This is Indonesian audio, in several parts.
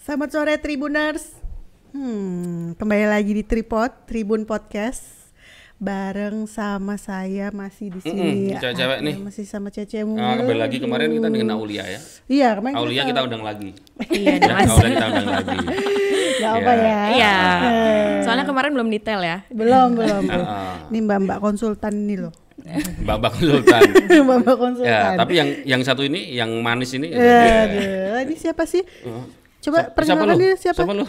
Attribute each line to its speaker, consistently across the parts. Speaker 1: Selamat sore Tribuners. Hmm, kembali lagi di Tripod Tribun Podcast bareng sama saya masih di sini.
Speaker 2: Mm-mm, cewek-cewek
Speaker 1: Ada
Speaker 2: nih.
Speaker 1: Masih sama Cece mulu.
Speaker 2: Nah, kembali lagi kemarin kita dengan Aulia ya.
Speaker 1: Iya, kemarin
Speaker 2: Aulia kita undang lagi.
Speaker 3: Iya,
Speaker 2: Ya,
Speaker 3: Mas.
Speaker 2: Aulia kita undang lagi.
Speaker 1: Gak apa
Speaker 2: Iya.
Speaker 1: ya?
Speaker 3: Iya.
Speaker 4: Eh.
Speaker 3: Soalnya kemarin belum detail ya.
Speaker 1: Belum, belum. belum.
Speaker 2: Ah.
Speaker 1: Ini Mbak-mbak konsultan nih loh.
Speaker 2: Mbak Mbak Sultan.
Speaker 1: Mbak-mbak Iya,
Speaker 2: ya,
Speaker 1: konsultan.
Speaker 2: tapi yang yang satu ini yang manis ini. Iya.
Speaker 1: Aduh, ini siapa sih? Coba perkenalkan
Speaker 2: lu?
Speaker 1: dia siapa?
Speaker 2: Siapa lu?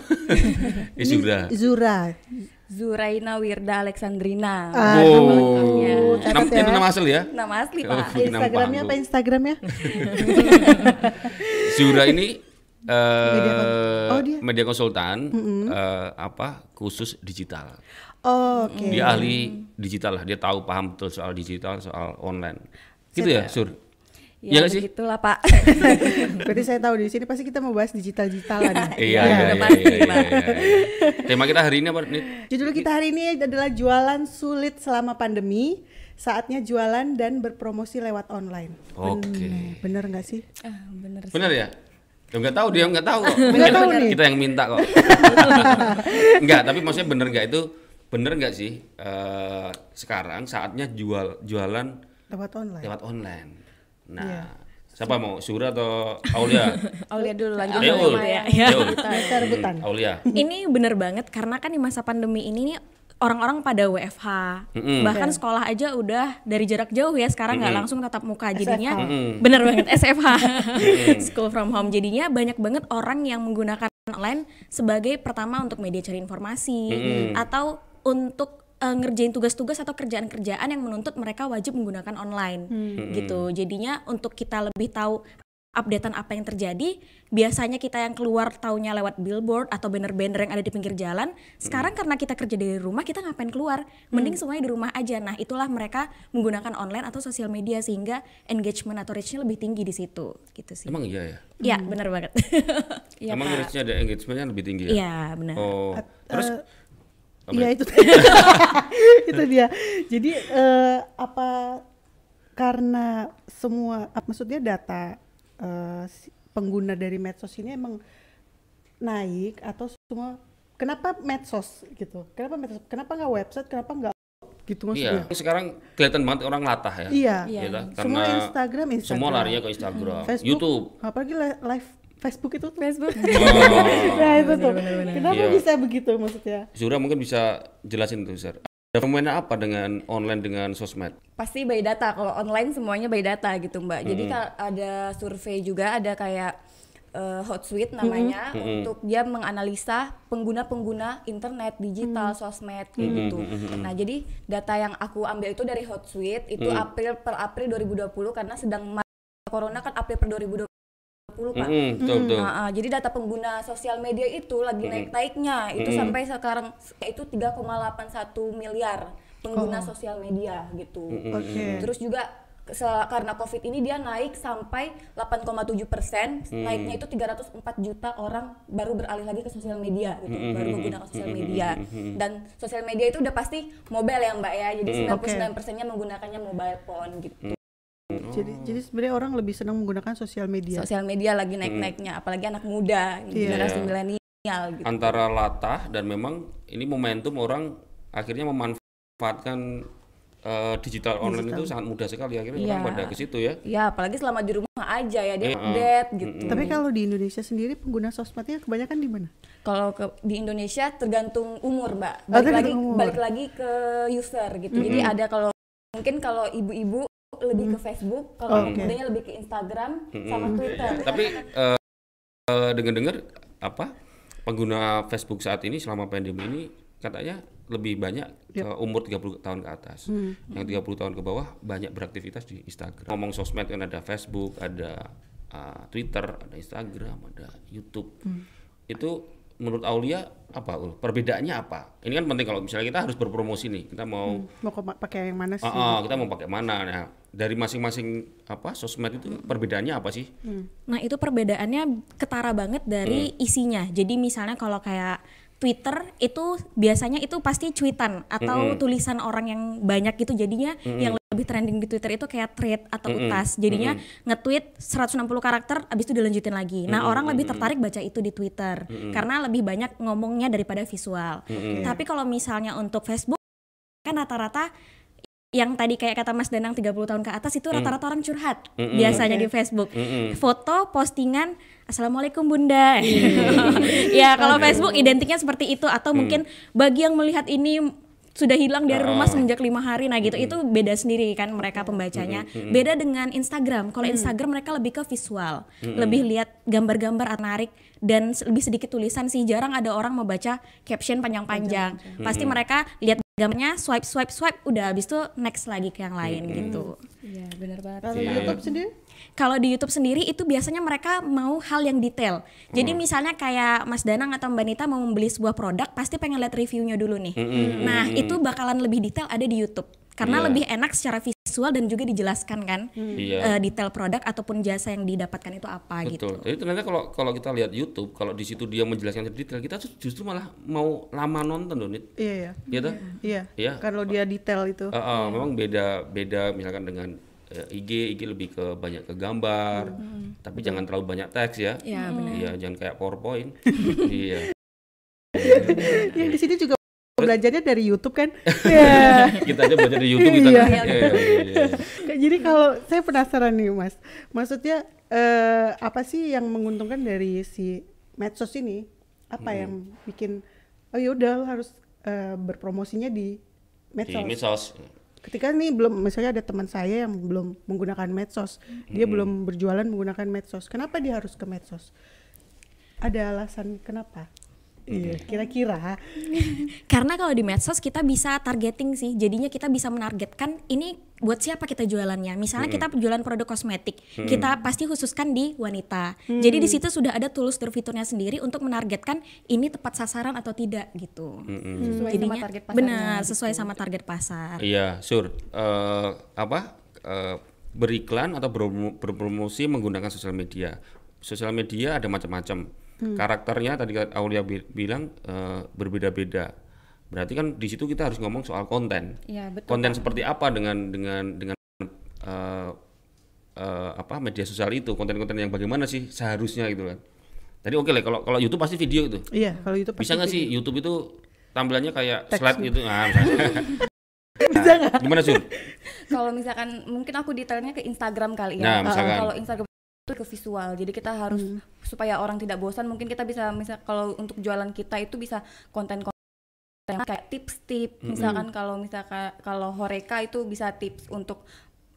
Speaker 1: Ini
Speaker 2: Isura.
Speaker 1: Zura.
Speaker 4: Zuraina Wirda Alexandrina.
Speaker 2: Wow.
Speaker 1: catat
Speaker 2: Nam-
Speaker 1: ya.
Speaker 2: Itu nama asli ya?
Speaker 4: Nama asli,
Speaker 2: Oh,
Speaker 4: Pak.
Speaker 2: nama
Speaker 1: Instagramnya apa
Speaker 2: panggung.
Speaker 1: Instagramnya?
Speaker 2: Zura ini eh,
Speaker 1: Media
Speaker 2: media,
Speaker 1: kon- oh, dia.
Speaker 2: konsultan eh, apa khusus digital.
Speaker 1: Oh, Oke.
Speaker 2: Dia ahli digital lah, dia tahu paham betul soal digital, soal online. Gitu ya, Sur? Iya
Speaker 4: Ya,
Speaker 2: nggak sih?
Speaker 4: begitulah, Pak.
Speaker 1: Berarti saya tahu di sini pasti kita mau bahas ya. digital digitalan.
Speaker 2: Iya,
Speaker 4: Iya,
Speaker 2: iya,
Speaker 4: udah
Speaker 2: iya,
Speaker 4: pasti,
Speaker 2: iya,
Speaker 4: Pak.
Speaker 2: iya, iya. Tema kita hari ini apa nih?
Speaker 1: Judul kita hari ini adalah jualan sulit selama pandemi. Saatnya jualan dan berpromosi lewat online.
Speaker 2: Oke.
Speaker 1: Bener- Bener nggak sih?
Speaker 4: Ah, Bener sih.
Speaker 2: Bener ya? Ya nggak tahu dia nggak tahu kok.
Speaker 1: Nggak tahu nih.
Speaker 2: Kita yang minta kok. nggak, tapi maksudnya bener nggak itu? Bener nggak sih? eh, sekarang saatnya jual jualan
Speaker 1: Lewat online.
Speaker 2: lewat online. Nah,
Speaker 1: Iya.
Speaker 2: siapa mau Sura atau Aulia?
Speaker 4: Aulia Oh, dulu lanjut
Speaker 2: Deul.
Speaker 4: dulu, ya.
Speaker 2: Deul.
Speaker 1: Kita Iya. rebutan.
Speaker 2: Hmm, Aulia.
Speaker 3: Ini bener banget karena kan di masa pandemi ini nih orang-orang pada WFH.
Speaker 2: Mm-mm.
Speaker 3: Bahkan sekolah aja udah dari jarak jauh ya sekarang nggak langsung tatap muka jadinya
Speaker 1: SFH.
Speaker 3: bener banget SFH. School from home jadinya banyak banget orang yang menggunakan online sebagai pertama untuk media cari informasi atau untuk eh, ngerjain tugas-tugas atau kerjaan-kerjaan yang menuntut mereka wajib menggunakan online gitu. Jadinya untuk kita lebih tahu updatean apa yang terjadi, biasanya kita yang keluar taunya lewat billboard atau banner-banner yang ada di pinggir jalan. Sekarang
Speaker 2: Hmm.
Speaker 3: karena kita kerja dari rumah, kita ngapain keluar? Mending semuanya di rumah aja. Nah, itulah mereka menggunakan online atau sosial media sehingga engagement atau reach-nya lebih tinggi di situ. Gitu sih.
Speaker 2: Emang iya ya?
Speaker 3: Iya, benar banget. Ya.
Speaker 4: Iya,
Speaker 2: Emang
Speaker 4: Pak.
Speaker 2: harusnya ada engagementnya lebih tinggi ya?
Speaker 3: Iya, benar.
Speaker 2: Oh, terus
Speaker 1: eh,
Speaker 2: apa
Speaker 1: Iya
Speaker 2: ya?
Speaker 1: itu itu dia. Jadi eh, apa karena semua ap- maksudnya data eh, si- pengguna dari medsos ini emang naik atau semua kenapa medsos gitu? Kenapa medsos? Kenapa nggak website? Kenapa nggak gitu maksudnya?
Speaker 2: Iya, sekarang kelihatan banget orang latah ya.
Speaker 1: Iya.
Speaker 2: Iya, lah,
Speaker 1: Semua
Speaker 2: karena
Speaker 1: Instagram, Instagram.
Speaker 2: Semua ya. larinya ke Instagram,
Speaker 1: Facebook,
Speaker 2: YouTube.
Speaker 1: Apalagi li- live Facebook itu tuh.
Speaker 4: Facebook.
Speaker 2: Oh.
Speaker 1: nah itu tuh. Kenapa
Speaker 2: Iya.
Speaker 1: bisa begitu maksudnya?
Speaker 2: Zura mungkin bisa jelasin tuh, Zura. Ada fenomena apa dengan online dengan sosmed?
Speaker 4: Pasti by data. Kalau online semuanya by data gitu, Mbak. Jadi ka- ada survei juga, ada kayak eh, hot suite namanya untuk dia menganalisa pengguna-pengguna internet, digital, sosmed
Speaker 2: Hmm,
Speaker 4: kayak gitu. Nah, jadi data yang aku ambil itu dari hot suite itu April per April 2020 karena sedang ma- corona kan April per 2020, Nah, Pak.
Speaker 2: Mm, betul betul.
Speaker 4: Ah, ah, jadi data pengguna sosial media itu lagi naik-naiknya. Itu sampai sekarang itu 3,81 miliar pengguna sosial media gitu.
Speaker 2: Hmm,
Speaker 1: Oke.
Speaker 4: Terus juga sel- karena Covid ini dia naik sampai 8,7 persen, naiknya itu 304 juta orang baru beralih lagi ke sosial media,
Speaker 2: hmm,
Speaker 4: gitu, baru menggunakan sosial media. Dan sosial media itu udah pasti mobile ya Mbak ya, jadi 99 persennya menggunakannya mobile phone gitu.
Speaker 2: hmm.
Speaker 1: Jadi jadi sebenarnya orang lebih senang menggunakan sosial media.
Speaker 4: Sosial media lagi naik-naiknya, apalagi anak muda, generasi milenial gitu.
Speaker 2: Oh. Antara latah dan memang ini momentum orang akhirnya memanfaatkan eh, digital online itu sangat mudah sekali akhirnya orang
Speaker 4: Iya.
Speaker 2: pada ke situ ya.
Speaker 4: Ya, apalagi selama di rumah aja ya dia
Speaker 2: Mm-mm.
Speaker 4: update gitu.
Speaker 1: Tapi kan kalau di Indonesia sendiri pengguna sosmednya kebanyakan di mana?
Speaker 4: Kalau ke- di Indonesia tergantung umur, Mbak.
Speaker 1: Oh,
Speaker 4: Balik lagi
Speaker 1: tergantung umur.
Speaker 4: balik lagi ke user gitu. Jadi ada kalau mungkin kalau ibu-ibu lebih ke Facebook, kalau
Speaker 1: Oh,
Speaker 4: anak
Speaker 1: oke.
Speaker 4: mudanya lebih ke Instagram sama Twitter.
Speaker 2: Iya, Tapi eh eh, dengar-dengar apa pengguna Facebook saat ini selama pandemi ini katanya lebih banyak ke umur 30 tahun ke atas. Yang 30 tahun ke bawah banyak beraktivitas di Instagram. Ngomong sosmed kan ada Facebook, ada ah, Twitter, ada Instagram, ada YouTube.
Speaker 3: Hmm.
Speaker 2: Itu menurut Aulia apa Ul? Perbedaannya apa? Ini kan penting kalau misalnya kita harus berpromosi nih. Kita mau
Speaker 1: Mau koma- pakai yang mana
Speaker 3: Hmm.
Speaker 1: sih?
Speaker 2: Ah, ah, kita mau pakai mana? Nah, dari masing-masing apa sosmed itu perbedaannya apa sih?
Speaker 3: Nah, itu perbedaannya ketara banget dari isinya. Jadi misalnya kalau kayak Twitter itu biasanya itu pasti cuitan atau tulisan orang yang banyak gitu jadinya yang lebih trending di Twitter itu kayak thread atau utas. Jadinya nge-tweet 160 karakter abis itu dilanjutin lagi. Nah, orang lebih tertarik baca itu di Twitter karena lebih banyak ngomongnya daripada
Speaker 2: Hmm.
Speaker 3: visual. Tapi kalau misalnya untuk Facebook kan rata-rata yang tadi kayak kata Mas Danang 30 tahun ke atas itu rata-rata orang curhat biasanya di Facebook.
Speaker 2: Hmm.
Speaker 3: Foto, postingan, Assalamualaikum Bunda. ya, kalau Facebook identiknya seperti itu atau mungkin bagi yang melihat ini sudah hilang dari rumah semenjak lima hari nah gitu itu beda sendiri kan mereka pembacanya beda dengan Instagram kalau Instagram mereka lebih ke visual lebih lihat gambar-gambar menarik dan se- lebih sedikit tulisan sih jarang ada orang mau baca caption panjang-panjang pasti mereka lihat gambarnya swipe swipe swipe udah habis itu next lagi ke yang lain gitu
Speaker 4: Iya, benar banget.
Speaker 1: Kalau di YouTube sendiri?
Speaker 3: kalau di YouTube sendiri itu biasanya mereka mau hal yang detail.
Speaker 2: Hmm.
Speaker 3: Jadi misalnya kayak Mas Danang atau Mbak Nita mau membeli sebuah produk pasti pengen lihat reviewnya dulu nih.
Speaker 2: Hmm,
Speaker 3: Nah itu bakalan lebih detail ada di YouTube karena
Speaker 2: Iya.
Speaker 3: lebih enak secara visual dan juga dijelaskan kan
Speaker 2: Iya.
Speaker 3: eh, detail produk ataupun jasa yang didapatkan itu apa gitu.
Speaker 2: Betul. Jadi ternyata kalau kalau kita lihat YouTube, kalau di situ dia menjelaskan secara detail, kita tuh justru malah mau lama nonton loh, Nit.
Speaker 1: Iya ya.
Speaker 2: Iya toh?
Speaker 1: Iya.
Speaker 2: Iya.
Speaker 1: Kalau dia detail itu.
Speaker 2: Eh, eh, memang beda beda misalkan dengan eh, IG, IG lebih ke banyak ke gambar, tapi jangan terlalu banyak teks ya.
Speaker 3: Nah,
Speaker 4: Iya,
Speaker 1: Hmm.
Speaker 2: Iya, jangan kayak PowerPoint. iya.
Speaker 1: Yang di sini juga belajarnya dari YouTube kan. Iya.
Speaker 2: Kita aja belajar di YouTube kita.
Speaker 1: Iya.
Speaker 2: kan. Iya, iya, iya.
Speaker 1: Kayak Jadi kalau saya penasaran nih Mas. Maksudnya eh, apa sih yang menguntungkan dari si medsos ini?
Speaker 2: Hmm.
Speaker 1: Apa yang bikin oh yaudah harus eh, berpromosinya di
Speaker 2: Di
Speaker 1: medsos?
Speaker 2: medsos.
Speaker 1: ketika nih belum misalnya ada teman saya yang belum menggunakan medsos dia belum berjualan menggunakan medsos kenapa dia harus ke medsos ada alasan kenapa iya kira-kira
Speaker 3: Karena kalau di medsos kita bisa targeting sih, jadinya kita bisa menargetkan ini buat siapa kita jualannya. Misalnya kita jualan produk kosmetik, kita pasti khususkan di wanita. Jadi di situ sudah ada tools dan fiturnya sendiri untuk menargetkan ini tepat sasaran atau tidak gitu.
Speaker 4: Sesuai sama
Speaker 3: Jadinya
Speaker 4: target pasarnya. gitu.
Speaker 3: benar sesuai sama target pasar.
Speaker 2: Iya, sur. Eh, apa? Eh, beriklan atau berpromo- berpromosi menggunakan sosial media. Sosial media ada macam-macam.
Speaker 1: Hmm.
Speaker 2: Karakternya tadi kan Aulia bi- bilang eh, berbeda-beda. Berarti kan di situ kita harus ngomong soal konten.
Speaker 4: Iya, betul.
Speaker 2: Konten seperti apa dengan dengan dengan eh, eh, apa media sosial itu konten-konten yang bagaimana sih seharusnya gitu kan. Tadi oke lah kalau kalau YouTube pasti video itu.
Speaker 1: iya kalau YouTube
Speaker 2: Bisa nggak sih YouTube itu tampilannya kayak
Speaker 1: Teks
Speaker 2: slide gitu? Nah, misalnya. Nah, gimana sur?
Speaker 4: Kalau misalkan mungkin aku detailnya ke Instagram kali
Speaker 2: Nah,
Speaker 4: ya.
Speaker 2: misalkan.
Speaker 4: Kalau Instagram itu ke visual. Jadi kita harus
Speaker 2: Mm.
Speaker 4: supaya orang tidak bosan, mungkin kita bisa misal kalau untuk jualan kita itu bisa konten-konten yang kayak tips-tips. Misalkan kalau misalkan kalau Horeca itu bisa tips untuk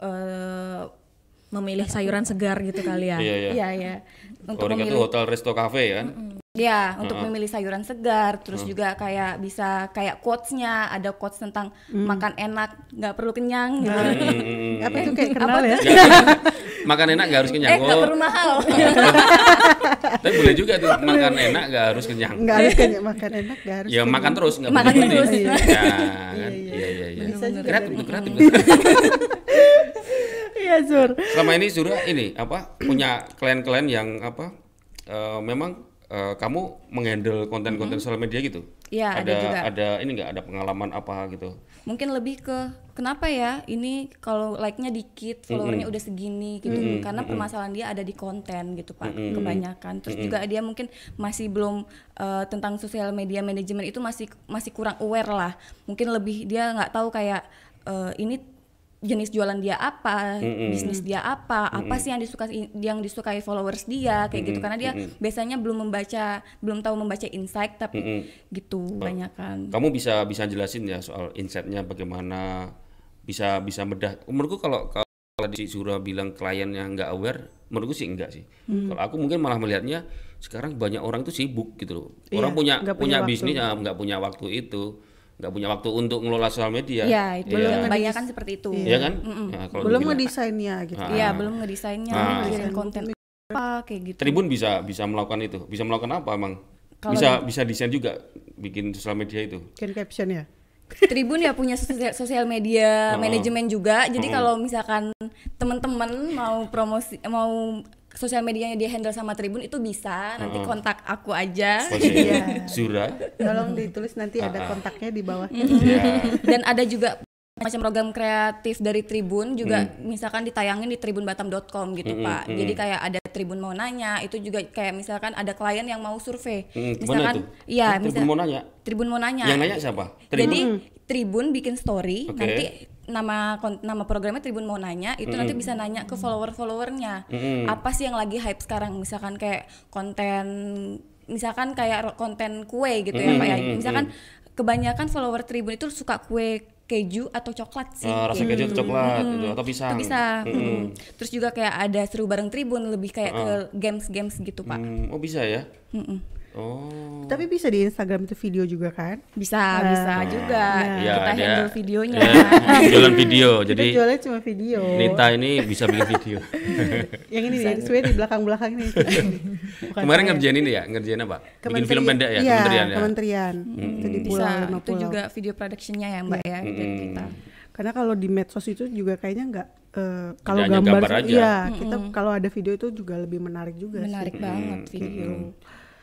Speaker 4: eh,
Speaker 3: Memilih sayuran segar gitu kali ya.
Speaker 2: Iya iya.
Speaker 4: Iya, ya. Untuk
Speaker 2: Orang itu
Speaker 4: memilih
Speaker 2: hotel resto cafe kan.
Speaker 4: Ya, untuk memilih sayuran segar, terus juga kayak bisa kayak quotes-nya, ada quotes tentang makan enak, nggak perlu kenyang gitu.
Speaker 2: Nah, Mm-mm.
Speaker 1: apa itu kayak kenal ya
Speaker 2: makan enak nggak harus
Speaker 4: Eh,
Speaker 2: kenyang.
Speaker 4: nggak
Speaker 2: Oh,
Speaker 4: perlu mahal.
Speaker 2: tapi boleh juga tuh makan enak nggak harus kenyang.
Speaker 1: nggak harus kan ya, makan enak nggak harus
Speaker 2: Ya
Speaker 1: kan.
Speaker 2: makan terus nggak
Speaker 4: Makan
Speaker 2: boleh
Speaker 4: terus.
Speaker 2: berhenti. Ya, kan? Iya iya iya.
Speaker 1: Bisa juga
Speaker 2: Kreatif tuh, kreatif.
Speaker 1: iya Zur
Speaker 2: Selama ini Zura ini apa punya klien-klien yang apa eh, memang eh, kamu menghandle konten-konten sosial media gitu?
Speaker 4: Mm-hmm. Iya, ada juga.
Speaker 2: Ada ini nggak ada pengalaman apa gitu?
Speaker 4: Mungkin lebih ke kenapa ya ini kalau like-nya dikit, followernya udah segini gitu. Karena permasalahan dia ada di konten gitu, Pak, kebanyakan. Terus juga dia mungkin masih belum eh, tentang sosial media manajemen itu masih masih kurang aware lah. Mungkin lebih dia nggak tahu kayak eh, ini jenis jualan dia apa, bisnis dia apa, apa sih yang disukai yang disukai followers dia kayak gitu karena dia biasanya belum membaca, belum tahu membaca insight tapi gitu kebanyakan.
Speaker 2: kamu bisa bisa jelasin ya soal insight-nya bagaimana bisa bisa bedah menurutku kalau kalau di Zura bilang klien yang nggak aware menurutku sih enggak sih
Speaker 4: Hmm.
Speaker 2: kalau aku mungkin malah melihatnya sekarang banyak orang itu sibuk gitu loh
Speaker 1: Iya,
Speaker 2: orang punya
Speaker 1: nggak
Speaker 2: punya,
Speaker 1: punya waktu.
Speaker 2: bisnis ah, nggak punya waktu itu nggak punya waktu untuk ngelola sosial media
Speaker 4: Iya, itu
Speaker 2: Iya.
Speaker 4: belum kebanyakan seperti itu.
Speaker 2: Iya kan Nah, kalau
Speaker 1: belum
Speaker 2: dibilang-
Speaker 1: ngedesainnya gitu
Speaker 2: Ah.
Speaker 4: Iya, belum ngedesainnya, belum mikirin konten
Speaker 2: Iya.
Speaker 4: apa kayak gitu.
Speaker 2: Tribun bisa bisa melakukan itu bisa melakukan apa emang
Speaker 4: Kalau
Speaker 2: bisa bisa desain juga bikin sosial media itu
Speaker 1: bikin caption ya
Speaker 4: Tribun ya punya sosial, sosial
Speaker 2: Ah.
Speaker 4: media manajemen juga. Jadi kalau misalkan teman-teman mau promosi mau sosial medianya dia handle sama Tribun itu bisa. Nanti
Speaker 2: Ah.
Speaker 4: kontak aku aja.
Speaker 1: Iya.
Speaker 2: ya, Zura Ah.
Speaker 1: Mm. tolong ditulis nanti ada kontaknya di bawah
Speaker 2: ya
Speaker 4: Dan ada juga macam program kreatif dari Tribun juga
Speaker 2: Hmm.
Speaker 4: misalkan ditayangin di tribunbatam.com gitu Pak. Jadi kayak ada Tribun mau nanya, itu juga kayak misalkan ada klien yang mau survei.
Speaker 2: Hmm, gimana
Speaker 4: misalkan
Speaker 2: tuh?
Speaker 4: iya,
Speaker 2: Tribun
Speaker 4: misal-
Speaker 2: mau nanya?
Speaker 4: Tribun mau nanya.
Speaker 2: Yang nanya siapa?
Speaker 4: Jadi Tribun bikin story
Speaker 2: Oke.
Speaker 4: nanti nama kon- nama programnya Tribun mau nanya itu nanti bisa nanya ke follower-followernya apa sih yang lagi hype sekarang misalkan kayak konten misalkan kayak ro- konten kue gitu ya Pak ya misalkan kebanyakan follower Tribun itu suka kue keju atau coklat sih
Speaker 2: Eh, rasa
Speaker 4: gitu.
Speaker 2: keju atau coklat gitu, atau pisang.
Speaker 4: Itu bisa mm. terus juga kayak ada seru bareng Tribun lebih kayak
Speaker 2: Ah.
Speaker 4: ke games-games gitu Pak
Speaker 2: Hmm, oh bisa ya? Oh.
Speaker 1: Tapi bisa di Instagram itu video juga kan?
Speaker 4: bisa bisa juga
Speaker 2: Nah, Iya,
Speaker 4: kita
Speaker 2: dia-
Speaker 4: handle videonya
Speaker 2: dia jualan video. Oh, Jadi
Speaker 1: Kita jualnya cuma video.
Speaker 2: Nita ini bisa bikin video.
Speaker 1: Yang ini nih, sebenarnya di belakang-belakang ini. Bukan
Speaker 2: Kemarin
Speaker 1: saya.
Speaker 2: ngerjain ini ya, ngerjain apa? Bikin
Speaker 1: Kementerian-
Speaker 2: film pendek ya,
Speaker 1: iya,
Speaker 2: kementerian ya.
Speaker 1: kementerian. Itu di pulau,
Speaker 4: bisa
Speaker 1: lima
Speaker 4: itu
Speaker 1: pulau.
Speaker 4: juga video productionnya ya mbak ya dari
Speaker 2: Iya
Speaker 4: kita
Speaker 1: Karena kalau di medsos itu juga kayaknya nggak eh, kalau
Speaker 2: hanya
Speaker 1: gambar,
Speaker 2: gambar aja.
Speaker 1: iya, kita kalau ada video itu juga lebih menarik juga sih.
Speaker 4: menarik banget video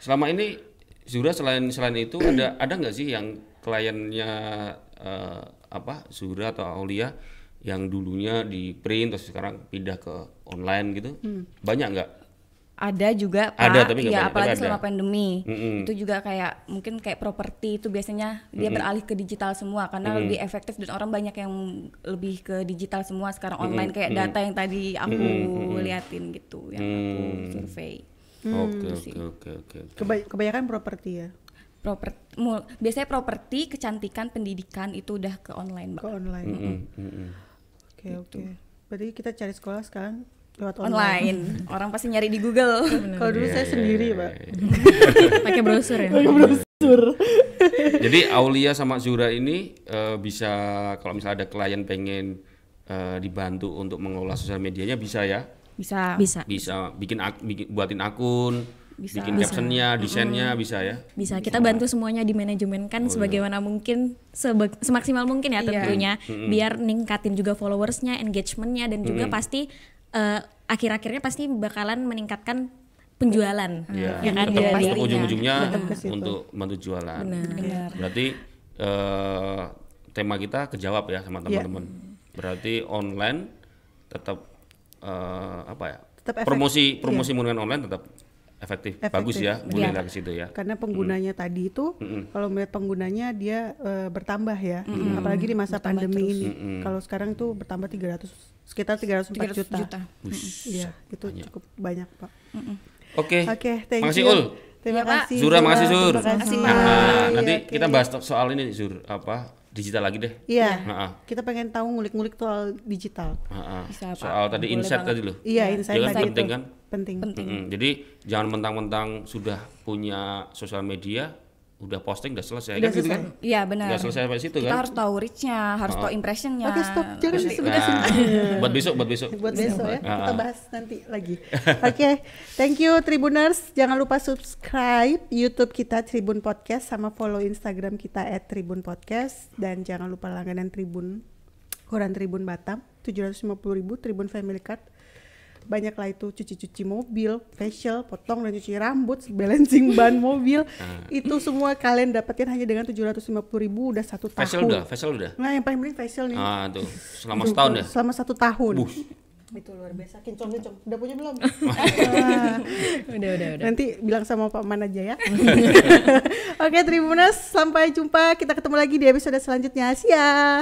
Speaker 2: Selama ini Zura selain selain itu ada ada nggak sih yang kliennya eh, apa Zura atau Aulia yang dulunya di print terus sekarang pindah ke online gitu?
Speaker 1: Hmm.
Speaker 2: Banyak nggak?
Speaker 4: ada juga pak
Speaker 2: Ada, tapi nggak
Speaker 4: ya
Speaker 2: banyak,
Speaker 4: apalagi
Speaker 2: tapi ada.
Speaker 4: selama pandemi
Speaker 2: Mm-mm.
Speaker 4: itu juga kayak mungkin kayak properti itu biasanya dia beralih ke digital semua karena lebih efektif dan orang banyak yang lebih ke digital semua sekarang online kayak data yang tadi aku liatin gitu yang aku
Speaker 2: Mm.
Speaker 4: survei
Speaker 2: Oke oke oke oke.
Speaker 1: Kebay- Hmm, kebanyakan properti ya,
Speaker 4: properti mul- biasanya properti kecantikan pendidikan itu udah ke online mbak
Speaker 1: ke online.
Speaker 2: Hmm, hmm, hmm.
Speaker 1: Oke, oke. Berarti kita cari sekolah sekarang lewat online.
Speaker 4: online orang pasti nyari di Google
Speaker 1: Kalau dulu
Speaker 2: Iya,
Speaker 1: saya sendiri, Pak.
Speaker 3: pakai browser ya
Speaker 2: Jadi Aulia sama Zura ini eh, bisa kalau misalnya ada klien pengen eh, dibantu untuk mengelola sosial medianya bisa ya.
Speaker 4: bisa
Speaker 3: bisa
Speaker 2: Bisa bikin, ak- bikin- buatin akun, bikin captionnya, desainnya bisa ya.
Speaker 3: bisa kita bantu semuanya di manajemen kan sebagaimana mungkin sebe- semaksimal mungkin ya tentunya biar ningkatin juga followersnya engagementnya dan juga pasti eh, akhir-akhirnya pasti bakalan meningkatkan penjualan
Speaker 1: Ah,
Speaker 2: Ya,
Speaker 3: ya kan
Speaker 2: tetap,
Speaker 3: dari-
Speaker 2: tetap ujung-ujungnya
Speaker 1: Iya, Tetap ke situ.
Speaker 2: untuk bantu jualan.
Speaker 4: Benar.
Speaker 2: Berarti eh, tema kita kejawab
Speaker 1: Iya.
Speaker 2: ya sama teman-teman. Berarti online tetap eh, apa ya?
Speaker 1: Tetap efek- iya.
Speaker 2: promosi promosi menggunakan online tetap efektif.
Speaker 1: Efektif,
Speaker 2: Bagus
Speaker 1: Iya.
Speaker 2: ya, boleh lah ke situ ya.
Speaker 1: Karena penggunanya tadi itu kalau melihat penggunanya dia eh, bertambah ya, apalagi di masa pandemi ini. Kalau sekarang tuh bertambah 300 sekitar 304
Speaker 4: 300
Speaker 1: juta.
Speaker 4: juta.
Speaker 1: Iya, itu cukup banyak, Pak.
Speaker 2: Oke.
Speaker 1: Oke, thank
Speaker 2: Makasih
Speaker 1: you.
Speaker 2: Ul.
Speaker 1: Terima
Speaker 4: Ya, Pak.
Speaker 1: kasih.
Speaker 2: Zura, makasih Eh, Sur.
Speaker 1: Terima kasih.
Speaker 2: Nah,
Speaker 1: Iya,
Speaker 2: nanti
Speaker 1: oke.
Speaker 2: kita bahas Nah. to- soal ini Sur, apa? Digital lagi deh.
Speaker 1: Iya.
Speaker 2: Ha-ha.
Speaker 1: Kita pengen tahu ngulik-ngulik soal digital.
Speaker 2: Ha-ha.
Speaker 4: Bisa, Pak.
Speaker 2: Soal tadi
Speaker 4: Boleh
Speaker 2: insight
Speaker 4: banget.
Speaker 2: tadi loh.
Speaker 1: Iya, insight
Speaker 2: Iya kan,
Speaker 1: tadi
Speaker 2: penting
Speaker 1: itu.
Speaker 2: kan?
Speaker 1: Penting.
Speaker 2: Mm-mm. Jadi jangan mentang-mentang sudah punya sosial media, udah posting, udah selesai
Speaker 1: Udah
Speaker 2: kan gitu
Speaker 1: selesai.
Speaker 2: kan?
Speaker 4: Iya benar.
Speaker 2: Nggak selesai sampai situ
Speaker 4: Kita
Speaker 2: kan? Oh.
Speaker 4: harus tahu reach-nya, harus tahu impression-nya.
Speaker 1: Oke, stop. Jangan
Speaker 4: Nanti-
Speaker 1: disebut
Speaker 2: Nah, buat besok, buat besok.
Speaker 1: buat besok ya.
Speaker 2: Ah.
Speaker 1: Kita bahas nanti lagi. Oke, thank you Tribuners. Jangan lupa subscribe YouTube kita Tribun Podcast sama follow Instagram kita @tribunpodcast dan jangan lupa langganan Tribun koran Tribun Batam 750.000 Tribun Family Card. Banyaklah itu cuci-cuci mobil, facial, potong dan cuci rambut, balancing ban mobil.
Speaker 2: Ah.
Speaker 1: itu semua kalian dapetin hanya dengan 750.000 udah satu tahun.
Speaker 2: Facial udah, facial udah.
Speaker 1: Nah, yang paling penting facial nih.
Speaker 2: Ah, tuh. Selama setahun ya.
Speaker 1: Selama satu tahun.
Speaker 2: Bus.
Speaker 1: Itu luar biasa. Kincong kincong. Udah punya belum? Ah,
Speaker 3: udah udah udah
Speaker 1: Nanti bilang sama Pak Man aja ya. Oke Tribunas, sampai jumpa. Kita ketemu lagi di episode selanjutnya. Siap.